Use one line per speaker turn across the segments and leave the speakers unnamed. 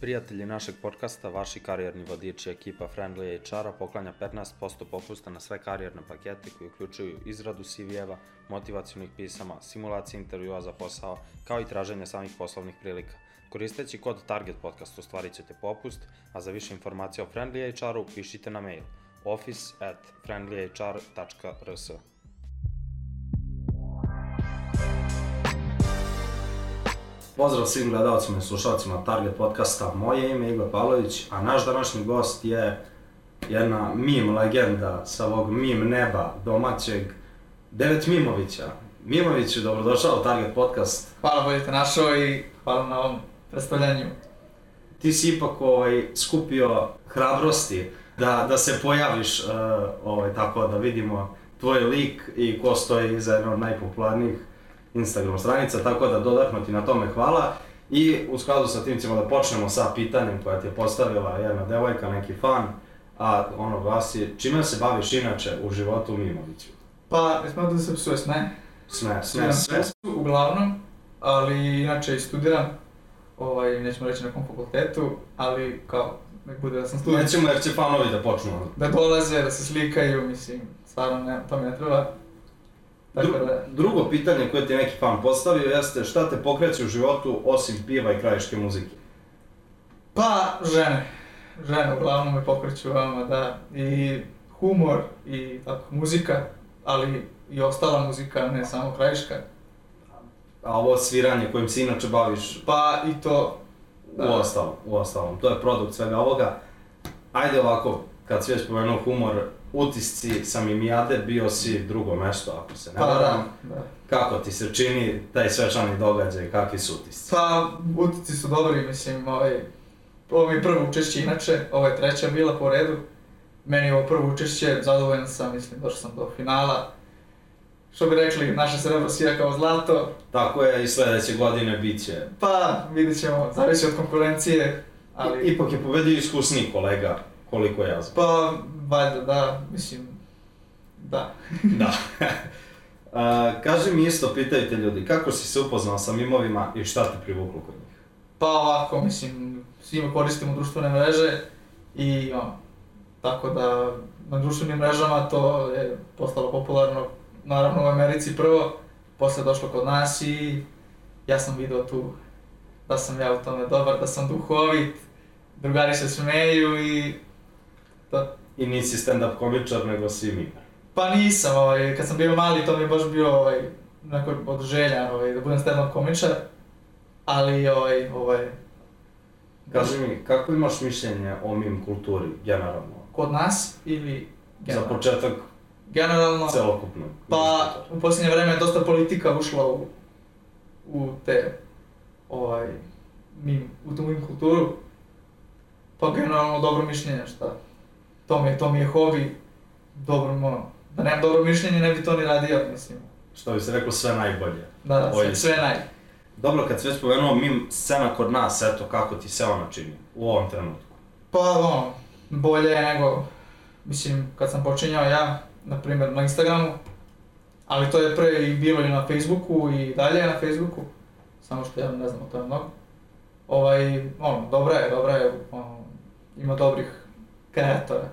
Prijatelji našeg podcasta, vaši karijerni vodiči ekipa Friendly HR-a poklanja 15% popusta na sve karijerne pakete koji uključuju izradu CV-eva, motivacijonih pisama, simulacije intervjua za posao, kao i traženje samih poslovnih prilika. Koristeći kod Target Podcast ostvarit ćete popust, a za više informacija o Friendly HR-u pišite na mail office at friendlyhr.rs. Pozdrav svim gledalcima i slušalcima Target podcasta. Moje ime je Igor Pavlović, a naš današnji gost je jedna mim legenda sa ovog mim neba domaćeg Devet Mimovića. Mimoviću, dobrodošao u Target podcast.
Hvala bolje te našao i hvala na ovom predstavljanju.
Ti si ipak ovaj, skupio hrabrosti da, da se pojaviš uh, ovaj, tako da vidimo tvoj lik i ko stoji iza jedne od najpopularnijih Instagram stranica, tako da dodatno ti na tome hvala. I u skladu sa tim ćemo da počnemo sa pitanjem koja ti je postavila jedna devojka, neki fan, a ono glasi, čime se baviš inače u životu Mimoviću?
Pa, ne smatram da se psuje ne.
Sme, sme,
Smijem
sve.
se, uglavnom, ali inače i studiram, ovaj, nećemo reći na kom fakultetu, ali kao, nek bude da sam student.
Nećemo jer će fanovi da počnu.
Da dolaze, da se slikaju, mislim, stvarno ne, to mi ne treba. Tako
Dru-
da,
drugo pitanje koje ti je neki fan postavio jeste šta te pokreće u životu osim piva i krajiške muzike?
pa, žene. Žene uglavnom me pokreću vama, da. I humor, i tako, muzika, ali i ostala muzika, ne samo krajiška.
A ovo sviranje kojim se inače baviš
Pa i to, Da.
u ostalom, u ostalom. To je produkt svega ovoga. Ajde ovako, kad si već pomenuo humor, utisci sa Mimijade bio si drugo mesto, ako se ne
pa da,
varam.
da.
Kako ti se čini taj svečani događaj, kakvi su utisci?
Pa, utici su dobri, mislim, ovaj, ovo mi je prvo učešće inače, ovo je treća bila po redu. Meni je ovo prvo učešće, zadovoljan sam, mislim, došao sam do finala. Što bi rekli, naša srebro svija kao zlato,
Tako je i sledeće godine bit će.
pa vidit ćemo, zavisi od konkurencije, ali...
Ali... Ipak je pobedio iskusni kolega, koliko ja znam.
Pa, valjda, da, mislim, da.
da. A, kaži mi isto, pitaju te ljudi, kako si se upoznao sa mimovima i šta te privuklo kod njih?
Pa ovako, mislim, svima koristimo društvene mreže i ono, tako da na društvenim mrežama to je postalo popularno, naravno u Americi prvo, posle je došlo kod nas i ja sam video tu da sam ja u tome dobar, da sam duhovit, drugari se smeju i to.
I nisi stand-up komičar, nego si mimar.
Pa nisam, ovaj, kad sam bio mali, to mi je baš bio ovaj, neko od želja ovaj, da budem stand-up komičar, ali ovaj, ovaj,
Kaži mi, kako imaš mišljenje o mim kulturi, generalno?
kod nas ili
Za
generalno?
početak
Generalno,
celokupno.
pa u posljednje vreme je dosta politika ušla u, u te, ovaj, mim, u tu mim kulturu. Pa generalno dobro mišljenje, šta? To mi je, to mi je hobi, dobro, ono, da nemam dobro mišljenje ne bi to ni radio, mislim.
Što bi se reklo, sve najbolje.
Da, da,
Bolje.
sve, sve naj.
Dobro, kad sve spomenuo mim scena kod nas, eto kako ti se ona čini u ovom trenutku.
Pa ono, bolje je nego, mislim, kad sam počinjao ja, na primjer na Instagramu, ali to je pre i bilo i na Facebooku i dalje je na Facebooku, samo što ja ne znam o tome mnogo. Ovaj, ono, dobra je, dobra je, ono, ima dobrih kreatora.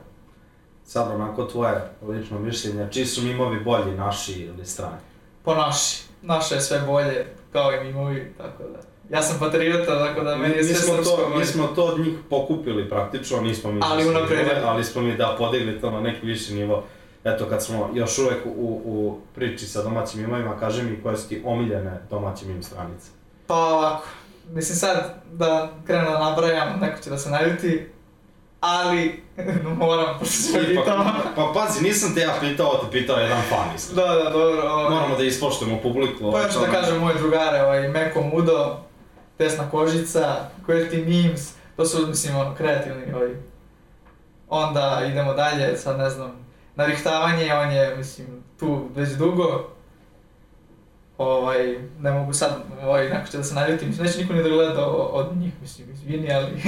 Sad onako tvoje lično mišljenje, čiji su mimovi bolji, naši ili strani?
Po naši, naše je sve bolje, kao i mimovi, tako da. Ja sam patriota, tako da meni je
mi,
sve
smo
srpsko
to, mi
bolje.
smo to od njih pokupili praktično, nismo mi
Ali
mislili,
unapredili.
ali smo mi da podigli to na neki viši nivo. Eto, kad smo još uvek u, u priči sa domaćim imovima, kaži mi koje su ti omiljene domaćim im stranice.
Pa ovako, mislim sad da krenu da nabrajam, neko će da se naljuti, ali moram, pošto se me pitao.
Pa, pa pazi, nisam te ja pitao, ovo te pitao jedan fan isto.
Da, da, dobro. ovaj.
Moramo da ispoštujemo publiku. ovaj
Pa ja ću da kažem moje drugare, ovaj, Meko Mudo, Tesna Kožica, Quirty Memes, to su, mislim, ono, kreativni, ovaj. Onda idemo dalje, sad ne znam, narihtavanje, on je, mislim, tu već dugo. Ovaj, ne mogu sad, ovaj, neko će da se naljuti, mislim, neće niko ni da gleda o- od njih, mislim, izvini, ali...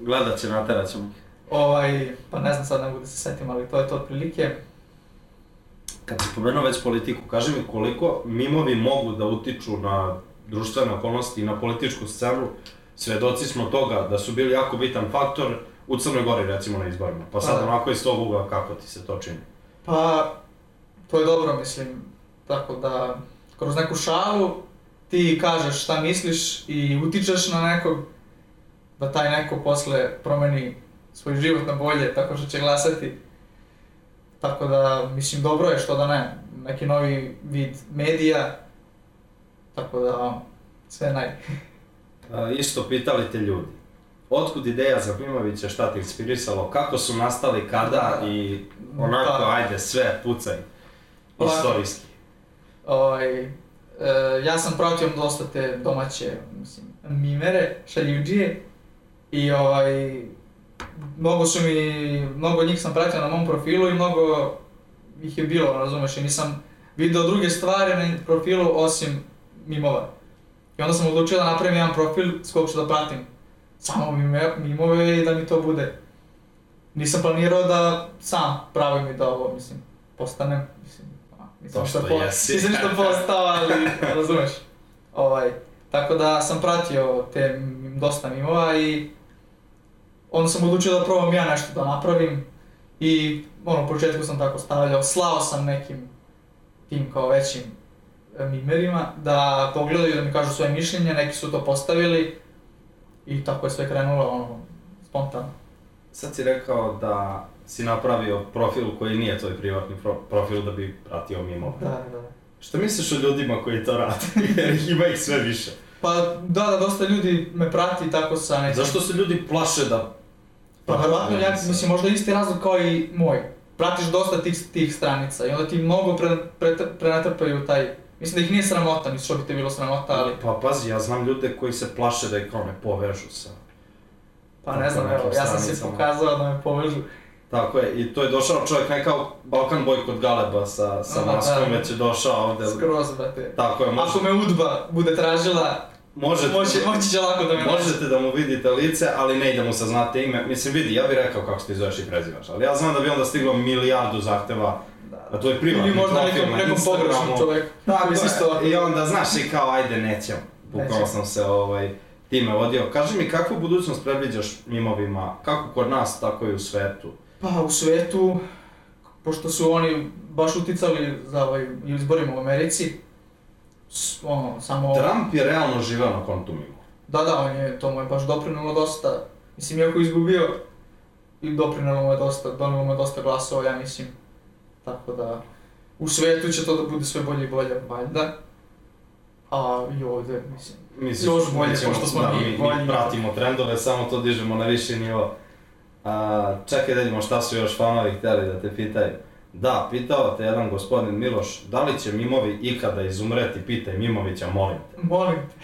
Gledat će, naterat ćemo. ih.
Ovaj, pa ne znam sad ne mogu da se setim, ali to je to otprilike.
Kad si pomenuo već politiku, kaži mi koliko mimovi mogu da utiču na društvene okolnosti i na političku scenu svedoci smo toga da su bili jako bitan faktor u Crnoj Gori recimo na izborima. Pa sad
Pa da.
onako iz tog ugla kako ti se to čini?
Pa, to je dobro, mislim, tako da, kroz neku šalu ti kažeš šta misliš i utičeš na nekog, da taj neko posle promeni svoj život na bolje tako što će glasati. Tako da, mislim, dobro je što da ne, neki novi vid medija, tako da, ono, sve naj.
A, E, isto pitali te ljudi. Otkud ideja za Klimovića, šta te inspirisalo, kako su nastali, kada i onako,
Da.
ajde, sve, pucaj.
Ovako.
Istorijski.
Ovaj, e, ja sam pratio dosta te domaće, mislim, mimere, šaljivđije i ovaj, mnogo su mi, mnogo njih sam pratio na mom profilu i mnogo ih je bilo, razumeš, i nisam video druge stvari na profilu osim mimova. I onda sam odlučio da napravim jedan profil s kog ću da pratim samo mime, mimove i da mi to bude. Nisam planirao da sam pravim i da ovo, mislim, postanem, mislim, a, nisam
To
ništa
što
po-
jesi.
nisam ništa postao, ali razumeš. Ovaj, tako da sam pratio te m- dosta mimova i onda sam odlučio da probam ja nešto da napravim i ono, u početku sam tako stavljao, slao sam nekim tim kao većim e, mimerima da pogledaju da mi kažu svoje mišljenje, neki su to postavili i tako je sve krenulo ono, spontano.
Sad si rekao da si napravio profil koji nije tvoj privatni pro- profil da bi pratio mimo.
Da, da.
Šta misliš o ljudima koji to rade? Jer ih ima ih sve više.
Pa da, da, dosta ljudi me prati tako sa nekim...
Zašto se ljudi plaše da...
Pa verovatno, ja,
Sa-
mislim, možda isti razlog kao i moj. Pratiš dosta tih, tih stranica i onda ti mnogo pre, pre, prenatrpaju taj... Mislim da ih nije sramota, mislim što bi te bilo sramota, ali...
Pa pazi, ja znam ljude koji se plaše da ih kao ne povežu sa...
Pa
Tako
ne znam,
na
evo,
tim
ja sam se
stranicama.
pokazao da me povežu.
Tako je, i to je došao čovjek ne kao Balkan Boy kod Galeba sa, sa
Da,
maskom,
da.
već je došao ovde.
Skroz, brate.
Tako je, može,
Ako me udba bude tražila,
možete,
Može, moći će lako da me nađe.
možete da mu vidite lice, ali ne idemo sa znate ime. Mislim, vidi, ja bih rekao kako se ti zoveš i prezivaš, ali ja znam da bi onda stiglo milijardu zahteva,
Da,
a to je privatni
Ili možda
profil
nekom,
na
nekom
Instagramu.
pogrešnom čoveku.
Tako
Koji se isto
je, i onda znaš i kao ajde nećemo, bukvalno
Nećemo.
sam se ovaj, time vodio. Kaži mi kakvu budućnost predviđaš mimovima, kako kod nas, tako i u svetu?
Pa u svetu, pošto su oni baš uticali za ovaj, i u izborima u Americi, s- ono, samo...
Trump je realno živeo na kontu mimo.
Da, da, on je, to mu je baš doprinelo dosta. Mislim, iako je izgubio, i doprinelo mu je dosta, donelo mu je dosta glasova, ja mislim. Tako da, u svetu će to da bude sve bolje i bolje, valjda. A i ovde, mislim.
Mislim,
Još bolje, pošto smo
da,
mi
mi, mi
bolji.
pratimo trendove, samo to dižemo na viši nivo. A, čekaj da vidimo šta su još fanovi hteli da te pitaju. Da, pitao te jedan gospodin Miloš, da li će mimovi ikada izumreti, pitaj Mimovića, molim te.
Molim te.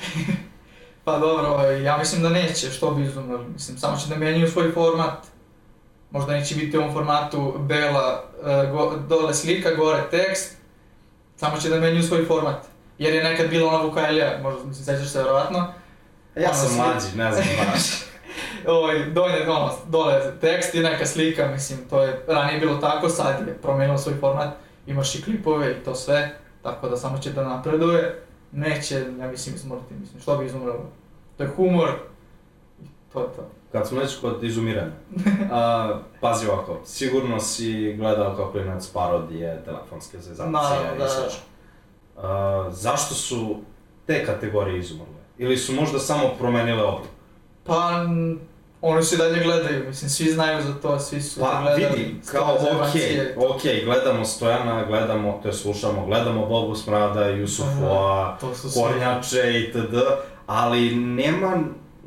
pa dobro, ovaj, ja mislim da neće, što bi izumrli. Mislim, samo će da menjaju svoj format. Možda neće biti u ovom formatu bela, e, go, dole slika, gore tekst. Samo će da menjaju svoj format. Jer je nekad bila ona Vukajlija, možda mislim, sećaš se verovatno.
Ja
Ono,
sam
svi-
mlađi, ne znam baš.
Ovaj, donje, ono, dole tekst i neka slika, mislim, to je ranije bilo tako, sad je promenilo svoj format, imaš i klipove i to sve, tako da samo će da napreduje, neće, ja mislim, izumrti, mislim, što bi izumrlo? To je humor, i to je to.
Kad smo već kod izumiranja, a, pazi ovako, sigurno si gledao kao klinac parodije, telefonske zvezdacije
Naravno,
i
da.
slično. A, Zašto su te kategorije izumrle? Ili su možda samo promenile oblik?
Pa, n- oni se i dalje gledaju, mislim, svi znaju za to, svi su to
Pa
gledali.
vidi, kao
Stojan
okej,
Zebancije.
okej, gledamo Stojana, gledamo, to je slušamo, gledamo Bobu Smrada, Jusufova,
To su svi.
Kornjače itd. Ali nema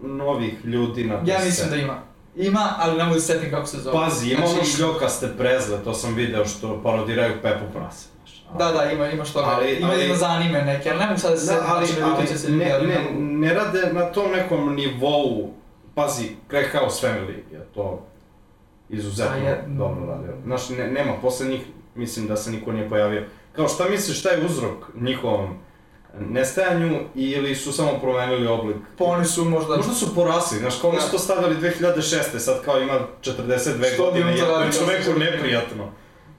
novih ljudi na
Ja mislim da ima. Ima, ali ne mogu da se setim kako se zove.
Pazi, ima ono
Znači,
šljokaste prezle, to sam video što parodiraju Pepu Prase. znaš.
Da, da, ima, ima što
Ali-
ali, ima,
ali-
ima za anime neke, ali ne mogu sad da se
Da, ali,
znači, ljutit će se
ali
ljudi,
ne,
ali
ne,
mogu.
ne rade na tom nekom nivou, pazi, Crack House Family je to izuzetno
A je-
dobro radio. Znaš, ne, nema, posle njih mislim da se niko nije pojavio. Kao šta misliš, šta je uzrok njihovom nestajanju ili su samo promenili oblik?
Pa oni su možda...
Možda su porasli, znaš, kao oni su to stavili 2006. sad kao ima 42
Da. Što bi
godine,
on to
iako je
radio?
čoveku neprijatno.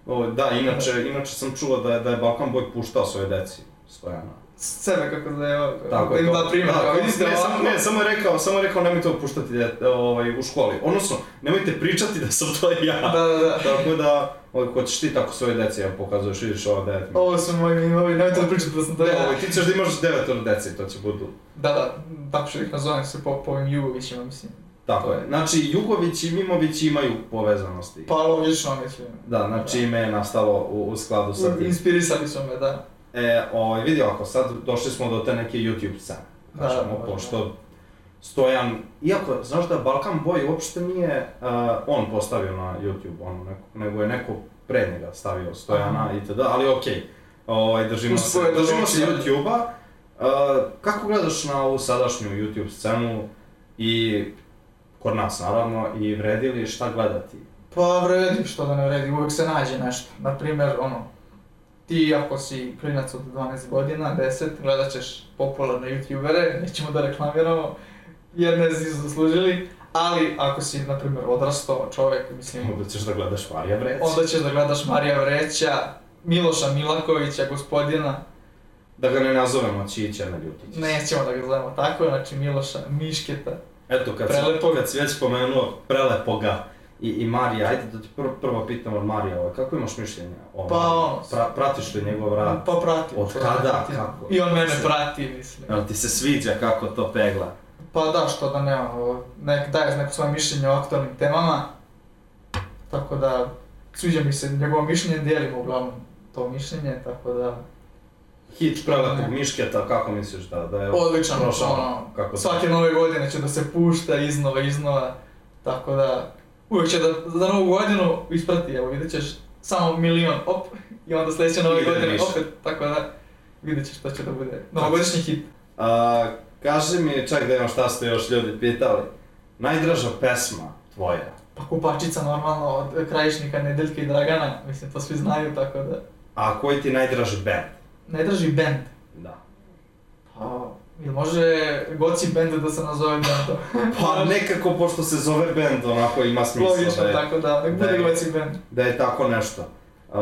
O, da, inače, inače sam čuo da je, da je Balkan Boy puštao svoje deci, Stojana.
sebe kako da je,
Tako
kako
je
im
to.
da primjer,
Da,
da,
kao,
vidi se da
ne,
je
samo,
ovako.
ne, samo je rekao, samo je rekao nemojte opuštati dete, ovaj, u školi. Odnosno, nemojte pričati da sam to ja.
Da, da, da.
Tako da, ovaj, ko ćeš ti tako svoje deci, ja pokazuješ, vidiš ova devet.
Ovo su moji minovi, nemojte da pričati da sam to
Da,
ja.
ovaj, ti ćeš da imaš devetoro deci, to će budu.
Da, da, tako što ih nazovem se po, po ovim Jugovićima, mislim.
Tako je. Znači, Jugović i Mimović imaju povezanosti.
Pa logično, mislim.
Da, znači ime je nastalo u, u skladu sa tim.
Inspirisali su me, da.
E, ovaj, vidi ovako, sad došli smo do te neke YouTube scene.
Da,
Kažemo,
da, da.
pošto Stojan, iako, znaš da Balkan Boy uopšte nije uh, on postavio na YouTube, ono, neko, nego je neko pre njega stavio Stojana
Aha.
itd., ali okej, ovaj, držimo
Uz
se,
svoje
držimo se
domaće.
YouTube-a. Uh, kako gledaš na ovu sadašnju YouTube scenu i kod nas naravno i vredi li šta gledati?
Pa vredi što da ne vredi, uvek se nađe nešto. Naprimer, ono, ti ako si klinac od 12 godina, 10, gledat ćeš popularne youtubere, nećemo da reklamiramo, jer ne si zaslužili, ali ako si, naprimjer, odrastao čovjek, mislim,
Onda ćeš da gledaš Marija Vreć.
onda ćeš da gledaš Marija Vreća, Miloša Milakovića, gospodina,
Da ga ne nazovemo Čića na ljutić.
nećemo da ga zovemo tako, znači Miloša Mišketa,
Eto, kad,
Prelepo.
si, kad si već spomenuo Prelepoga i, i Marija, ajde da ti prvo, prvo pitam od Marija, ovaj, kako imaš mišljenje? Ovaj,
Pa ono-
pra, pratiš li njegov rad?
pa prati.
Od kada, kako?
I on mene prati, mislim.
Jel ti se sviđa kako to pegla?
Pa da, što da ne, ono, nek daješ neko svoje mišljenje o aktualnim temama, tako da sviđa mi se njegovo mišljenje, dijelimo uglavnom to mišljenje, tako da
Hit Prelepog
Ne.
Mišketa, kako misliš da, da je
odličan,
prošao?
ono,
Kako to?
svake nove godine će da se pušta iznova, iznova, tako da uvijek će da za novu godinu isprati, evo vidjet ćeš samo milion, op, i onda sljedeće nove
Ide
godine
više.
opet, tako da vidjet ćeš što će da bude novogodišnji hit.
A, kaži mi, čak da imam šta ste još ljudi pitali, najdraža pesma tvoja,
Pa kupačica normalno od krajišnika Nedeljka i Dragana, mislim to svi znaju, tako da
a koji ti najdraži band?
ne drži bend.
Da.
Pa, jel može Goci bend da se nazove bendom?
Pa nekako, pošto se zove band, onako ima smisla
Logično,
da je,
tako da, nek
da
bude
je-
Goci bend.
da je tako nešto. Uh,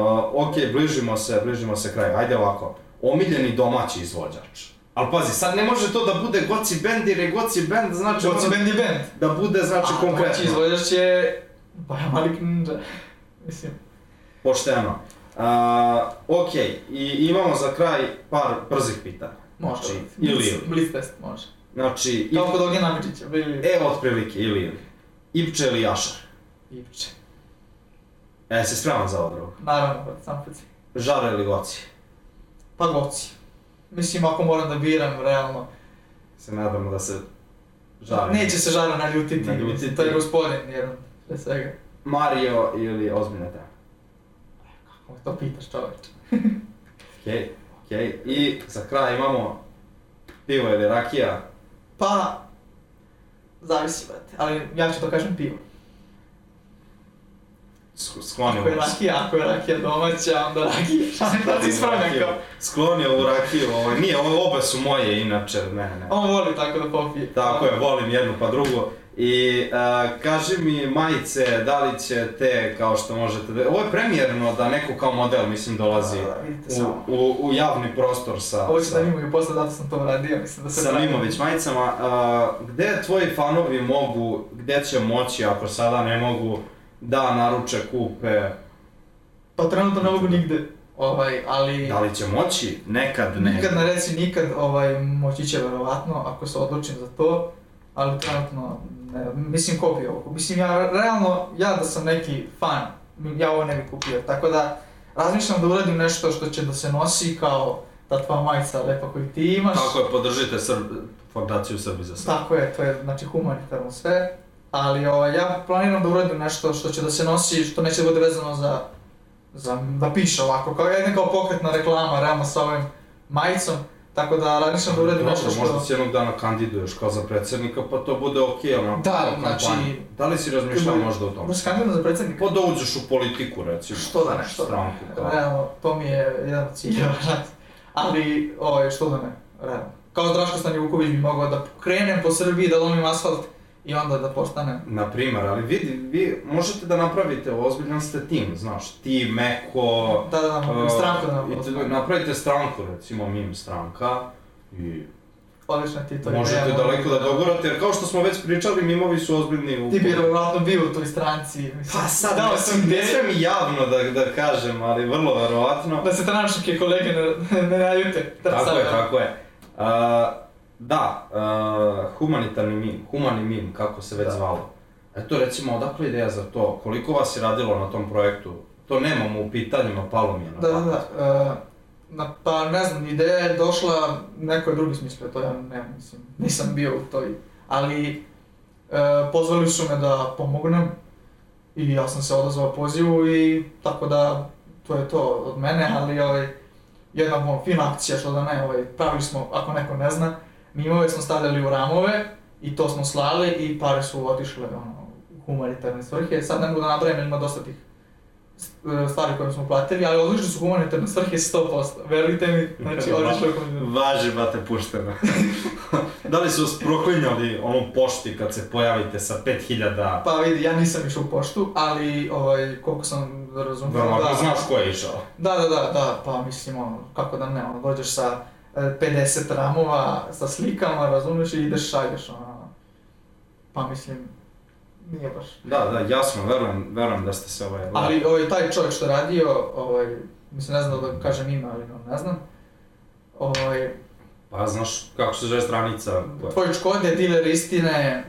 ok, bližimo se, bližimo se kraju. Ajde ovako, omiljeni domaći izvođač. Ali pazi, sad ne može to da bude Goci Band jer je Goci Band, znači
Goci
ono
bend je bend.
da bude znači
A domaći
konkretno,
izvođač je Baja Malik Ninja. Mislim,
pošteno. Uh, ok, i imamo za kraj par brzih pitanja.
može.
Znači, ili
Blitz-
ili.
Blitz test može.
Znači,
Kao kod Ognjena Amidžića, ili...
e, otprilike, ili ili. Ipče ili Jašar.
Ipče.
E, si spreman za ovo drugo.
Naravno, brate, sam peci.
Žar ili Goci?
Pa Goci. Mislim, ako moram da biram, realno.
Se nadamo da se žari.
Neće se žara naljutiti,
Naljutiti.
mislim, to je gospodin, jer pre svega.
Mario ili ozbiljna tema?
Kako me to pitaš, čoveče?
Okej, okej. I za kraj imamo pivo ili rakija.
Pa, zavisi, brate, ali ja ću to kažem pivo.
Sk- Sklonio
Ako je rakija, ako je rakija domaća, onda rakija. Šalim da ti ispravljam kao.
Sklonio u rakiju, ovaj, nije, ove obe su moje inače, ne, ne.
On voli tako da popije.
Tako je, volim jednu pa drugu. I uh, kaži mi majice, da li će te, kao što možete, da- ovo je premijerno da neko kao model, mislim, dolazi
Da, vidite
u,
samo.
u, u javni prostor sa...
Ovo ću
sa-
da imam i posle, zato sam to uradio, mislim da se...
sa
pravim.
Mimović majicama, uh, gde tvoji fanovi mogu, gde će moći ako sada ne mogu da naruče, kupe,
Pa trenutno ne mogu nigde, ovaj, ali...
da li će moći? Nekad ne.
Nikad ne reci nikad, ovaj, moći će verovatno, ako se odlučim za to, ali trenutno, ne, mislim, ko bi ovo kupio? Mislim, ja, realno, ja da sam neki fan, ja ovo ne bi kupio, tako da, razmišljam da uradim nešto što će da se nosi kao ta tva majica lepa koju ti imaš.
Tako je, podržite Srb... fondaciju Srbi za Srbi.
Tako je, to je znači humanitarno sve, ali ovaj, ja planiram da uradim nešto što će da se nosi, što neće da bude vezano za, za da piše ovako, kao jedna kao pokretna reklama, realno sa ovim majicom, tako da razmišljam da uradim
Dobro,
nešto što...
možda se jednog dana kandiduješ kao za predsjednika, pa to bude okej, okay, ono,
Da,
kao
znači-
kampanja. Da li si razmišljao možda o tome?
Možda se kandidujem za predsjednika?
Pa da uđeš u politiku, recimo.
Što da ne, što da
Stranku,
ne.
kao.
Realno, to mi je jedan od ciljeva, znate. ali ovaj, što da ne, realno. Kao Draško Stanivuković bi mogao da krenem po Srbiji, da lomim asfalt i onda da postane.
Na primjer, ali vidi, vi možete da napravite ozbiljan ste tim, znaš, ti, Meko...
Da, da, da,
e,
stranku da
i te-
napravimo.
Napravite stranku, recimo mim stranka i
Odlična ti to
možete
ideja,
daleko da
možda-
dogurate, jer kao što smo već pričali, mimovi su ozbiljni u...
Ti bi verovatno bio u toj stranci. mislim.
Pa sad,
Dao
ne, sam,
sam
ne
ideju.
smem javno da, da kažem, ali vrlo verovatno.
Da se tranaške kolege ne, ne naljute. Da,
Tako
sad,
je, tako je. A, da, a, humanitarni mim, humani mim, kako se već
Da.
zvalo. Eto recimo, odakle ideja za to? Koliko vas je radilo na tom projektu? To nemamo u pitanjima, palo mi je na
Da, da,
pamet.
da. e, na, pa ne znam, ideja je došla, neko je drugi smislio to, ja ne mislim, nisam bio u toj, ali e, pozvali su me da pomognem i ja sam se odazvao pozivu i tako da to je to od mene, ali ovaj, jedna ono, fina akcija što da ne, ovaj, pravili smo, ako neko ne zna, mimove smo stavljali u ramove i to smo slali i pare su otišle ono, u humanitarne svrhe, sad ne mogu da napravim jer ima dosta tih e, stvari koje smo platili, ali odlične su humanitarne svrhe 100%, verujte mi, znači odlično je humanitarne.
Važi, bate, pušteno. da li su vas proklinjali onu pošti kad se pojavite sa 5000...
Pa vidi, ja nisam išao u poštu, ali ovaj, koliko sam razumio,
Verovatno
da,
znaš ko je išao.
da, da, da, da, pa mislim, ono, kako da ne, ono, dođeš sa e, 50 ramova, sa slikama, razumiješ, i ideš šalješ, ono, pa mislim, nije baš.
Da, da, jasno, verujem, verujem da ste se ovaj...
Ali ovaj, taj čovjek što je radio, ovaj, mislim, ne znam da ga kažem ime, ali ono, ne znam, ovaj,
Pa znaš kako se zove stranica koja...
tvoj škod je diler istine,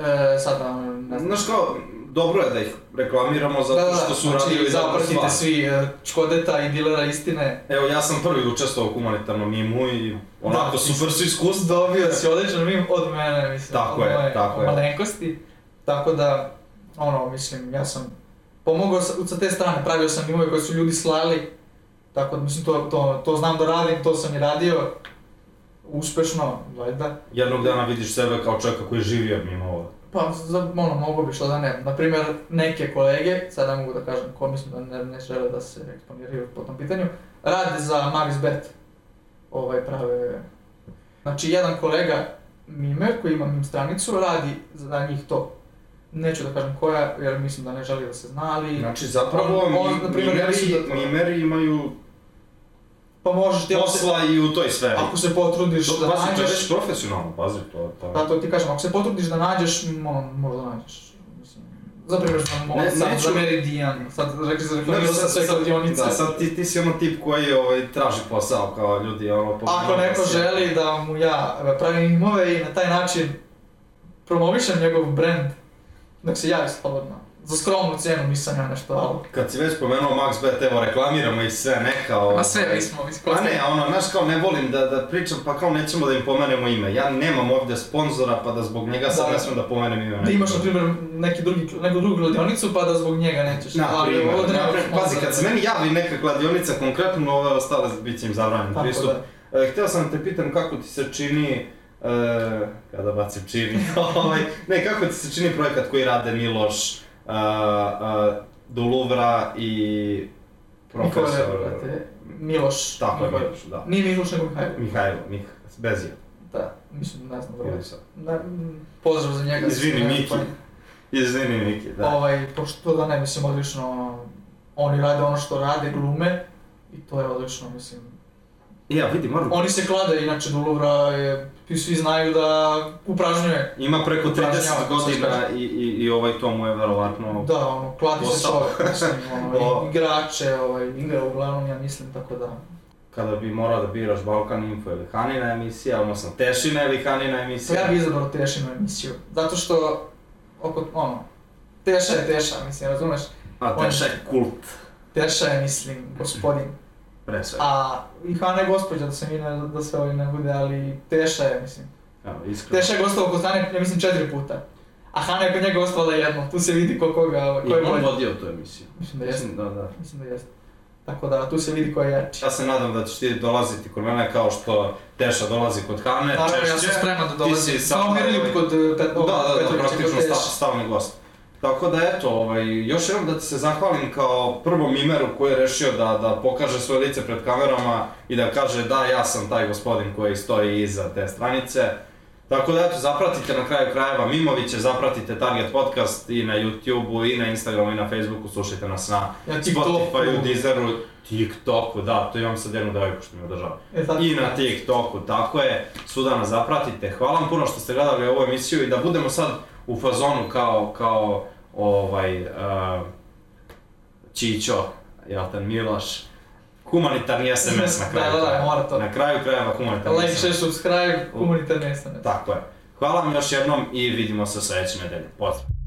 e, sad, ono, ne znam.
Znaš kao, dobro je da ih reklamiramo zato
Da, da,
što su
znači,
radili dobru
zapratite
stvar.
svi e, Škodeta i dilera istine.
Evo, ja sam prvi učestvovao u humanitarnom mimu i onako
Da,
super su iskustva.
Dobio si odličan mim od mene, mislim.
Tako
od
je,
moje
tako je.
Malenkosti. Tako da, ono, mislim, ja sam pomogao sa, sa te strane, pravio sam mimove koje su ljudi slali. Tako da, mislim, to, to, to znam da radim, to sam i radio. Uspešno, valjda.
Jednog dana vidiš sebe kao čovjeka koji živi od mimo ovo.
Pa, za, ono, mogo bi što da ne. Naprimjer, neke kolege, sad ne mogu da kažem ko mislim da ne, ne žele da se eksponiraju po tom pitanju, rade za Max Bet. Ovaj, prave... Znači, jedan kolega Mimer, koji ima Mim stranicu, radi za njih to. Neću da kažem koja, jer mislim da ne želi da se zna, ali...
Znači, zapravo,
On- on,
mi-
na primjer, ja mislim
mimeri,
da to-
mimeri imaju
Pa možeš ti, ako se,
posla i u toj sferi.
ako se potrudiš
To,
da
pazi, to je
nađeš...
profesionalno, pazi to. to.
Da, to ti kažem, ako se potrudiš da nađeš, ono, možda nađeš. Mislim, za primjer, znam,
Ne-
ne, sad,
neću-
za Meridian, sad rekli da se
Ne,
reklamirao sam sve kladionice.
da, sad ti, ti si ono tip koji ovaj, traži posao kao ljudi, ono...
Ako
pomogao
neko
si.
želi da mu ja pravim imove i na taj način promovišem njegov brand, nek se javi slobodno. Za skromnu cijenu nisam ja nešto alo.
Kad si već spomenuo Max Bet, evo reklamiramo i sve, neka ovo...
Ma sve mi smo
Pa
iskoristili.
ne, ono, znaš kao ne volim da, da pričam, pa kao nećemo da im pomenemo ime. Ja nemam ovdje sponzora, pa da zbog njega sad
Da.
ne smem da pomenem ime.
Ti imaš, na primjer, neki drugi, neku drugu kladionicu, pa da zbog njega nećeš.
Na
Ali
primjer,
ovo treba
na primjer, pazi,
sponsor.
kad se meni javi neka kladionica, konkretno ove ostale bit će im zabranjen
Tako
pristup.
da.
E, htio sam te pitam kako ti se čini, e, kada bacim čini, ovaj, ne, kako ti se čini projekat koji rade Miloš, a, a, do Louvra i
Nikola,
profesor...
brate, Miloš.
Tako je,
Nikola.
Miloš, da.
Nije Miloš, nego Mihajlo.
Mihajlo, Mih, bez je,
Da, mislim, ne znam dobro.
ili sam.
Da, mm, pozdrav za njega.
Izvini,
Ne,
Miki.
pa-
Izvini, Niki, da.
Ovaj, to što da ne, mislim, odlično, ono, oni rade ono što rade, glume, i to je odlično, mislim.
Ja, vidi, Maru,
Oni se klade, inače, do Louvra je, i svi znaju da upražnjuje.
ima preko 30
Upražnjava, kako se
godina i, i, i ovaj to mu je verovatno...
Da, ono, kladi se
Posao.
čovjek, mislim, ono,
O.
i- igrače, ovaj, igra uglavnom, ja mislim, tako da.
Kada bi morao da biraš Balkan Info ili Hanina emisija, odnosno Tešina ili Hanina
Pa
emisija...
ja bi izabrao Tešinu emisiju, zato što, oko, ono, Teša je Teša, mislim, razumeš?
A Teša je kult,
Teša je, mislim, gospodin.
pre svega.
A, i Hana je gospođa, da se mi ne, da se ovaj ne bude, ali Teša je, mislim.
Evo, iskreno.
Teša je gostao kod Hane, ja mislim, četiri puta. A Hana je kod njega ostala jednom, tu se vidi ko koga, ovaj, ko je
I on
bolji.
vodio tu emisiju.
Mislim da jeste,
Mislim, da, da.
mislim da jeste. Tako da, tu se vidi ko je jači.
Ja se nadam da ćeš ti dolaziti kod mene kao što Teša dolazi kod Hane,
Naravno,
E, češće.
ja sam spreman da
Ti
dolazim.
si
Kao
sad-
Mirljub kod eh, Pet-
Da, da, da,
Petrovića, kod
praktično sta,
Teše.
stalni gost. Tako da eto, ovaj, još jednom da ti se zahvalim kao prvom mimeru koji je rešio da, da pokaže svoje lice pred kamerama i da kaže da ja sam taj gospodin koji stoji iza te stranice. Tako da eto, zapratite na kraju krajeva Mimoviće, zapratite Target Podcast i na YouTubeu, i na Instagramu, i na Facebooku, slušajte nas na
Ja
Spotify,
TikToku.
u Deezeru, TikToku, da, to imam sad jednu devojku što me održava.
E, tako
I
da.
na TikToku, tako je, svuda nas zapratite. Hvala vam puno što ste gledali ovu emisiju i da budemo sad u fazonu kao, kao ovaj, uh, Čićo, Jatan Miloš, humanitarni SMS na kraju
Da, da, da,
krajeva.
mora to.
Na kraju krajeva humanitarni
Like,
SMS.
share, subscribe, humanitarne SNS.
Tako je. Hvala vam još jednom i vidimo se sljedeće nedelje. Pozdrav.